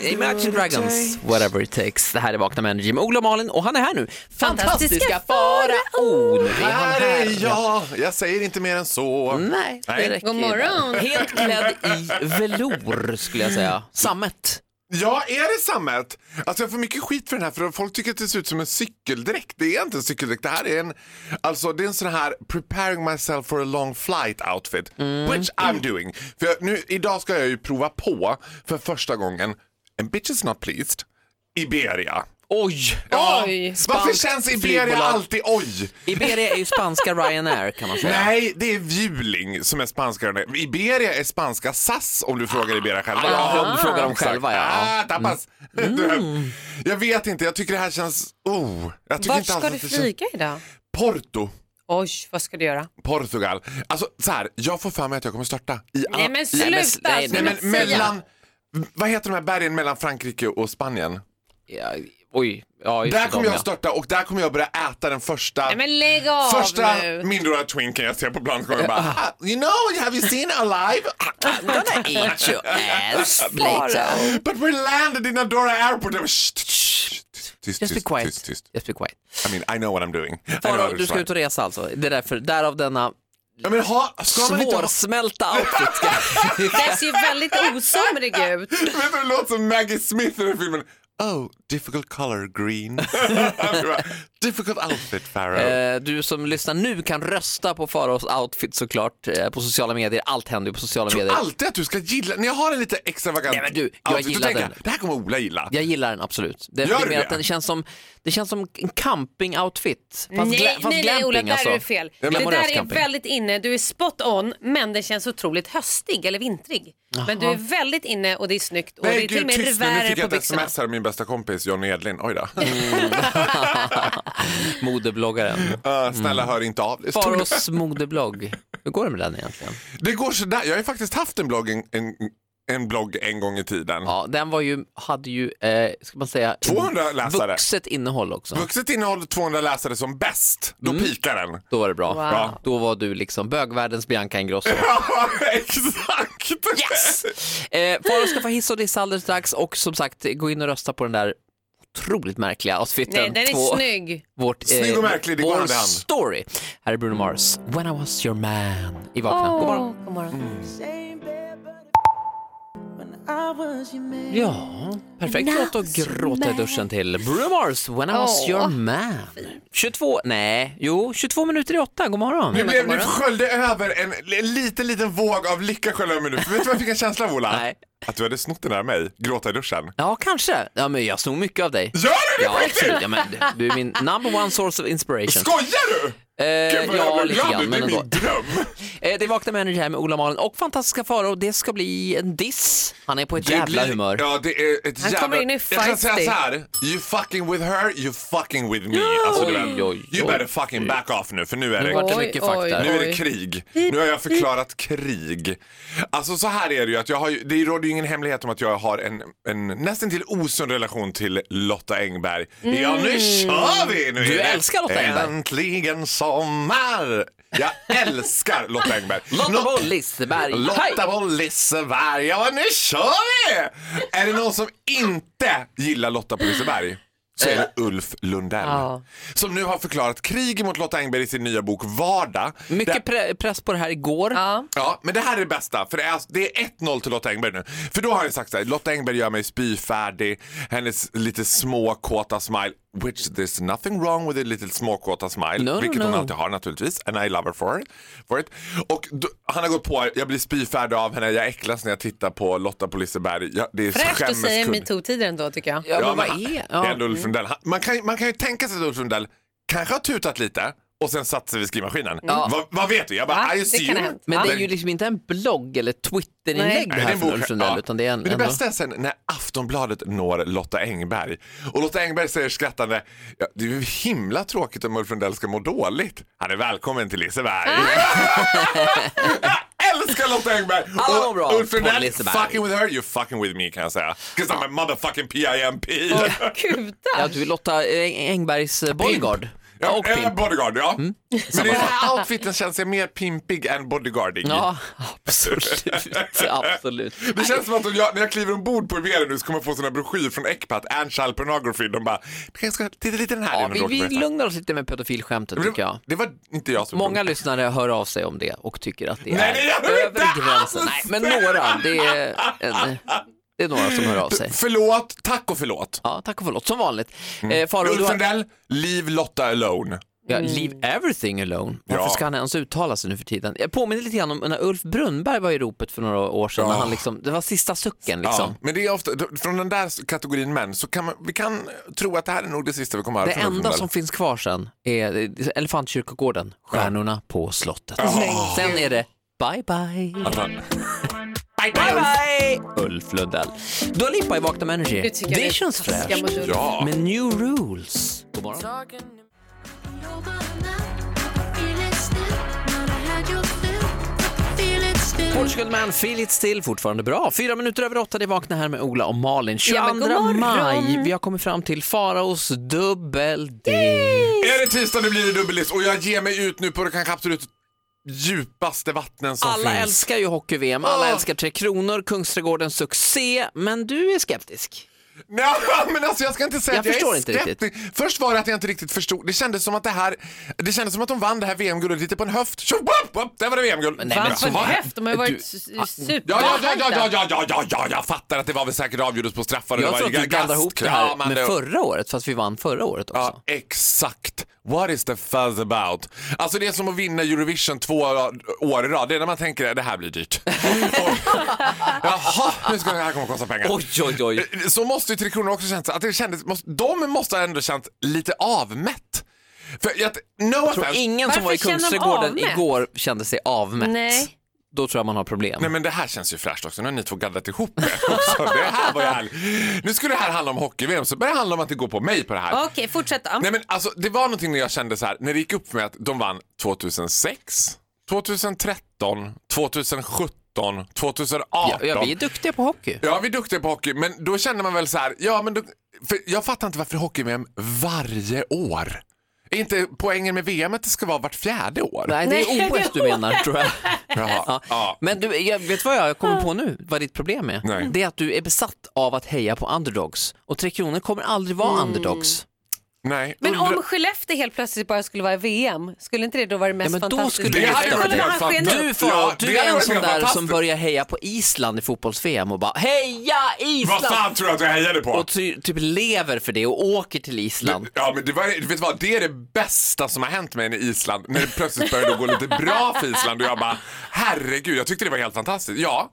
Imagine Dragons, whatever it takes. Det här är Vakna med Energy med Ola och Malin och han är här nu. Fantastiska Fantastiska Farao! Nu är han Här är här. jag, jag säger inte mer än så. Nej, det Nej. räcker. God morgon. Helt klädd i velour skulle jag säga. Sammet. Ja, är det sammet? Alltså jag får mycket skit för den här för folk tycker att det ser ut som en cykeldräkt. Det är inte en cykeldräkt, det här är en, alltså det är en sån här preparing myself for a long flight outfit. Mm. Which I'm doing. För jag, nu, idag ska jag ju prova på för första gången, and bitch is not pleased, Iberia. Oj! Oj. varför Spanskt känns Iberia flygbolag. alltid oj? Iberia är ju spanska Ryanair kan man säga. Nej, det är Vueling som är spanska. Iberia är spanska SAS om du frågar Iberia själva. Ah, om du frågar dem exakt. själva, ja. Mm. Ah, tapas. jag vet inte, jag tycker det här känns... Oh, jag tycker Vart inte ska alls att du det känns- flyga idag? Porto, Oj, vad ska du göra? Portugal. Alltså så här, jag får för mig att jag kommer störta. I all... Nej men sluta! men- nej, nej, Nej, men men mellan... Vad heter de här bergen mellan Frankrike och Spanien? Ja, oj. Ja, just Där det, kommer de, jag ja. störta och där kommer jag börja äta den första... nej men lägg av Första nu. mindre twinken jag ser på planet kommer jag bara ah, You know, have you seen alive? Ah, Gonna eat your ass later. But we landed in Andorra airport. Shh, shh, shh, Just tyst, be tyst, quiet. tyst, tyst. Just be quiet. I mean, I know what I'm doing. I know what Farao, I'm du ska trying. ut och resa alltså. Det är därför, därav denna Ja, men ha, ska man inte ha... svårsmälta outfit. Ska... Den ser ju väldigt osomrig ut. Vet du, det låter som Maggie Smith i den här filmen. Oh, difficult color green. difficult outfit, Farao. Eh, Du som lyssnar nu kan rösta på Faraos outfit såklart eh, på sociala medier. Allt händer ju på sociala Jag medier. tror alltid att du ska gilla, när jag har en lite extravagant Nej, men du, jag outfit, då gillar tänker den. Det här kommer Ola gilla. Jag gillar den absolut. Det, Gör det, är du mer det? Att den känns som, det känns som en camping-outfit. Fast, gla- Nej, fast nej, nej glamping Ola, där alltså. är du fel. Det men- där är camping. väldigt inne, du är spot on, men den känns otroligt höstig eller vintrig. Men du är väldigt inne och det är snyggt och det är till och med tyst nu. Nu revärer fick på jag ett byxorna. sms här av min bästa kompis Johnny Edlin. Oj då. Mm. Modebloggaren. Eh, snälla, hör inte av dig. stod det. Faraos modeblogg. Hur går det med den egentligen? Det går sådär. Jag har ju faktiskt haft en blogg en, en, en, blogg en gång i tiden. Ja, den var ju, hade ju, eh, ska man säga, 200 läsare. vuxet innehåll också. Vuxet innehåll 200 läsare som bäst. Då Mm. pikar den. Då var det bra. Wow. Då var du liksom bögvärldens Bianca Ingrosso. Ja, exakt! Yes! Eh, Farao ska få hiss och diss alldeles strax och som sagt gå in och rösta på den där otroligt märkliga outfiten. Nej, den på är snygg. Vårt, eh, Snygg och märklig, det går vår hand i hand. story. Här är Bruno Mars, When I was your man. I Vakna. God morgon. God morgon. Mm. Ja, perfekt låt att gråta i duschen till. Bruno Mars, When I was Åh. your man. 22, nej, jo, 22 minuter i åtta. God morgon. Nu, blev, nu sköljde över en li- liten, liten våg av lycka sköljde över mig nu. För vet du vad jag fick en känsla av Ola? Nej. Att du hade snott den där mig, gråta i duschen. Ja, kanske. Ja, men jag snor mycket av dig. Gör du det Ja, på riktigt? absolut. Ja, men du är min number one source of inspiration. Skojar du? Eh, Gud, vad jag ja, blev lite glad nu. grann, men Det är ändå. min dröm. Eh, Det är Vakna med Energy här med Ola Malin och fantastiska Farao. Det ska bli en diss. Han är på ett Det jävla blir- humör. Ja, det är ett Han jävla... kommer in i Jag kan säga feisty. så här. You fucking with her, you fucking with me. Alltså, du Oj, vet, oj, oj. you better fucking back off nu, för nu är Nu vart det Oj, mycket oj, fakta. oj. Nu är det krig. Nu har jag förklarat krig. Alltså så här är det ju att jag har, ju- det råder ju ingen hemlighet om att jag har en, en nästan till osund relation till Lotta Engberg. Ja Mm. nu kör vi! Nu är Du det älskar Lotta Engberg. Äntligen sommar! Jag älskar Lotta Engberg. Lotta Nå- Boll Liseberg. Hej! Lotta på Liseberg. Ja nu kör vi! Är det någon som inte gillar Lotta på Liseberg? Så är Eh. det Ulf Lundell. Ja. Som nu har förklarat krig mot Lotta Engberg i sin nya bok Vardag. Det- Mycket pre- press på det här igår. Ja. Ja, men det här är det bästa. För det är, alltså- det är 1-0 till Lotta Engberg nu. För då har jag sagt så här, Lotta Engberg gör mig spyfärdig, hennes lite småkåta smile, which there's nothing wrong with a little småkåta smile, No, no, vilket no. hon alltid har naturligtvis, and I love her for it. For it. Och då, han har gått på, jag blir spyfärdig av henne, jag äcklas när jag tittar på Lotta på Liseberg. Jag, det är Fräscht att säga skämmeskudd. metoo-tider ändå tycker jag. Ja, men Ja, vad men är... Det Ja. mm. är ändå Ulf Lundell. Han- Man kan, man kan ju tänka sig att Ulf Lundell kanske har tutat lite och sen satte sig vid skrivmaskinen. Vad, vad vet du? Jag bara, Va? I Det see kan you. ha hänt. Men det är Ja. ju liksom inte en blogg eller Twitterinlägg Nej. det här från Ulf Lundell, ja. utan det är en... Men det ändå- bästa är sen när Aftonbladet når Lotta Engberg. Och Lotta Engberg säger skrattande, ja, det är ju himla tråkigt om Ulf Lundell ska må dåligt. Han är välkommen till Liseberg. Ah! Jag älskar Lotta Engberg! Alla mår Och bra Ulf på Lundell, Liseberg. fucking with her, you fucking with me kan jag säga. 'Cause I'm a motherfucking PIMP. Kutar. Ja, du är Lotta eh, Engbergs eh, bodyguard. Ja, Ja, och eller pimp. Mm. bodyguard, ja. Men i den här outfiten känns jag mer pimpig än bodyguardig. Ja, absolut. absolut. Det känns som att om jag, när jag kliver ombord på Riviera nu så kommer jag få såna broschyr från Ecpat, Ann Child Pornography. De bara, jag ska titta lite i den här Ja, innan vi, du åker på vi resa." lugnar oss lite med pedofilskämtet Men tycker det, jag. det var inte jag som Många lyssnare hör av sig om det och tycker att det Nej, är det gör de över inte gränsen. alls! Nej, men några. Det är, en, det är några som hör av sig. Förlåt, tack och förlåt. Ja, tack och förlåt, som vanligt. Eh, Faro, du Mm. Ulf har, Lundell, leave Lotta alone. ja, leave everything alone. Varför Ja. ska han ens uttala sig nu för tiden? Jag påminner lite grann om när Ulf Brunnberg var i ropet för några år sedan. När han liksom, det var sista sucken liksom. Ja, men det är ofta, då- från den där kategorin män så kan man, vi kan tro att det här är nog det sista vi kommer att Det höra från Ulf enda Lundell. som finns kvar sen är eh, Elefantkyrkogården, Stjärnorna på slottet. Sen är det bye bye. Att man- Bye bye! Ulf Lundell. Dua Lipa i Vakna med Energy. Nu tycker jag Det känns taskiga fräscht. mot Ulf. Ja. Med new rules. God morgon. Portugal Man, Feel It Still, fortfarande bra. Fyra minuter över åtta, det är Vakna här med Ola och Malin. 22 Ja, men god morgon. maj, vi har kommit fram till Faraos dubbel D. Är det tisdag nu blir det dubbelist och jag ger mig ut nu på det kanske absolut djupaste vattnen som Alla finns. älskar ju hockey-VM, alla Ah. älskar Tre Kronor, Kungsträdgårdens succé, men du är skeptisk. Nej, men alltså jag ska inte säga Jag att jag förstår är inte skeptisk. Först var det att jag inte riktigt förstod. Det kändes som att det här, det kändes som att de vann det här VM-guldet lite på en höft. Tjo, bop, bop, där var det VM-guld. nej, men Vann på så en var det. höft, de har ju Du- varit s- s- Ja, Alltså, ja, ja, ja, ja, supertajta. ja, ja, ja, ja, jag fattar att det var väl säkert avgjordes på straffar och Jag det tror var att du blandar ihop det här med gastkramande och- förra året, fast vi vann förra året också. Ja, exakt. What is the fuzz about? Alltså det är som att vinna Eurovision två ra- år i rad. Det är när man tänker att det här blir dyrt. Och- Jaha, nu ska det här kommer att kosta pengar. Oj, oj, oj. Eh, Så måste ju Tre Kronor också känns att det kändes, måste, de måste ha ändå känt lite avmätt. För jag, no jag tror ingen som Varför var i känner de Kungsträdgården avmätt? igår kände sig avmätt. Nej. Då tror jag man har problem. Nej men det här känns ju fräscht också, nu har ni två gaddat ihop det. Så det här var ju härligt. Nu skulle det här handla om hockey-VM, så börjar det handla om att det går på mig på det här. Okej, fortsätt. Ja. Nej men alltså det var någonting när jag kände så här, när det gick upp med att de vann 2006, 2013, 2017, 2018. ja, ja, vi är duktiga på hockey. Ja, vi är duktiga på hockey, men då känner man väl så här, ja men då, för jag fattar inte varför hockey-VM varje år. Är inte poängen med VM att det ska vara vart fjärde år? Nej, det Nej, är det OS du menar tror jag. Jaha, ja. Men du, jag vet vad jag kommer på nu, vad ditt problem är? Nej. Det är att du är besatt av att heja på underdogs och Tre Kronor kommer aldrig vara Mm. Alltså, underdogs. Nej, Men undra- om Skellefteå helt plötsligt bara skulle vara i VM, skulle inte det då vara det mest Ja, men då fantastiska? skulle det jag hade Då hade varit kunde helt han skena upp. Du, Farao, Ja, du det hade är en varit sån helt där som fantastiskt. börjar heja på Island i fotbolls-VM och bara heja Vad Island! fan tror du att jag hejade på? Och ty, typ lever för det och åker till Island. Ja, men det, var, vet du vad, det är det bästa som har hänt mig i Island. När det plötsligt började gå lite bra för Island och jag bara, herregud, jag tyckte det var helt fantastiskt. Ja,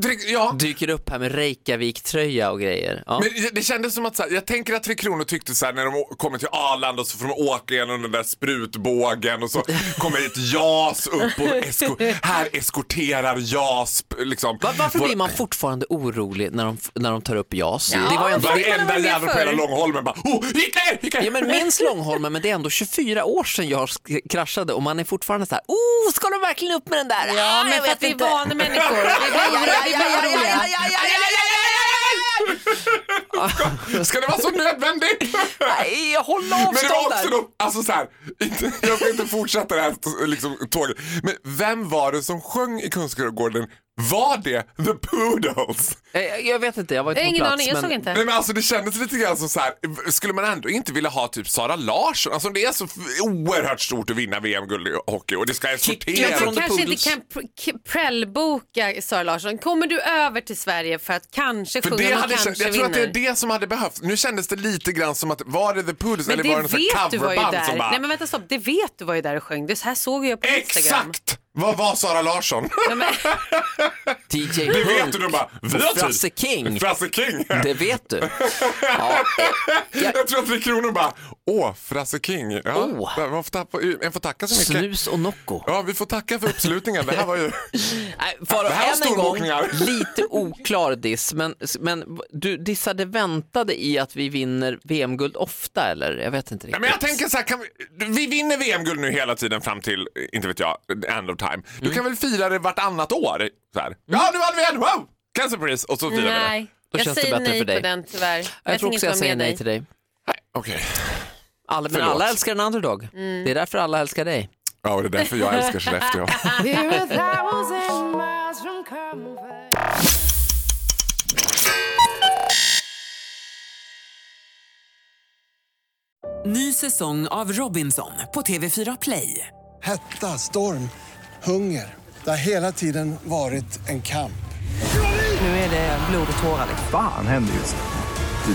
Det- ja. Dyker upp här med Reykjavik-tröja och grejer. Ja. Men det- det kändes som att så här, jag tänker att Tre Kronor tyckte så här när de å- kommer till Arlanda och så får de åka igenom den där sprutbågen och så kommer ett JAS upp och esko, här eskorterar JAS liksom. Va- Varför vår- blir man fortfarande orolig när de, f- när de tar upp JAS? Det var ju ändå, det, man Varenda väl med jävel på förr. hela Långholmen bara, oh, Hitler, Hitler! ja, men minns Långholmen, men det är ändå 24 år sedan jag sk- kraschade och man är fortfarande så här, oh, ska de verkligen upp med den där? Ah, Ja, men för att vi är vana människor. Vi blir oroliga. Vi blir oroliga. Ska det vara så nödvändigt? Nej, håll avstånd Men det var också där. de, alltså så här, inte, jag ska inte fortsätta det här t- liksom, tåget. Men vem var det som sjöng i Kungsträdgården? Var det The Poodles? Eh, Jag vet inte, jag var Jag inte har på ingen plats. aning, jag såg men... inte. Nej men alltså det kändes lite grann som så här. skulle man ändå inte vilja ha typ Sara Larsson? Alltså det är så f- oerhört stort att vinna VM-guld i hockey och det ska Kicken Men från- man eskorteras. The kanske Poodles. inte kan pr- k- prellboka Sara Larsson. Kommer du över till Sverige för att kanske För sjunga det och hade, kanske känt- jag tror vinner? att det är det som hade behövts. Nu kändes det lite grann som att var det The Poodles men eller det var det någon vet du var ju coverband som där. bara... Nej men vänta stopp, det vet du var ju där och sjöng. Det här såg jag på Instagram. Exakt! Vad var Sara Larsson? Nej, men, DJ Det vet Punk. du, de bara, vi har typ- Frasse King. Frasse King! Det vet du. Ja. eh, Jag tror att Tre Kronor bara, Åh, Frasse King. Ja, Åh. man, får tappa, man får tacka så mycket. Snus och Nocco. Ja, vi får tacka för uppslutningen. Det här var ju... Nej, Faro, Det här än var en gång, storbokningar. lite oklar diss, men, men du dissade väntade i att vi vinner VM-guld ofta eller? Jag vet inte Nej, riktigt. men jag tänker så här, kan vi, vi vinner VM-guld nu hela tiden fram till, eh, inte vet jag, the end of time. Mm. Du kan väl fira det vartannat år? Så här. Ja, nu vann vi igen! Wow! Cancer Prize! Och så firar vi det. Nej, Då jag känns det säger bättre nej för dig. på den tyvärr. jag, tror också jag säger nej till dig. Nej, Okej. Alla, men Förlåt. alla älskar en underdog. Det är därför alla älskar dig. Ja, och det är därför jag älskar Skellefteå. Ny säsong av Robinson på TV4 Play. Hetta, storm, hunger. Det har hela tiden varit en kamp. Nu är det blod och tårar. Fan händer just nu.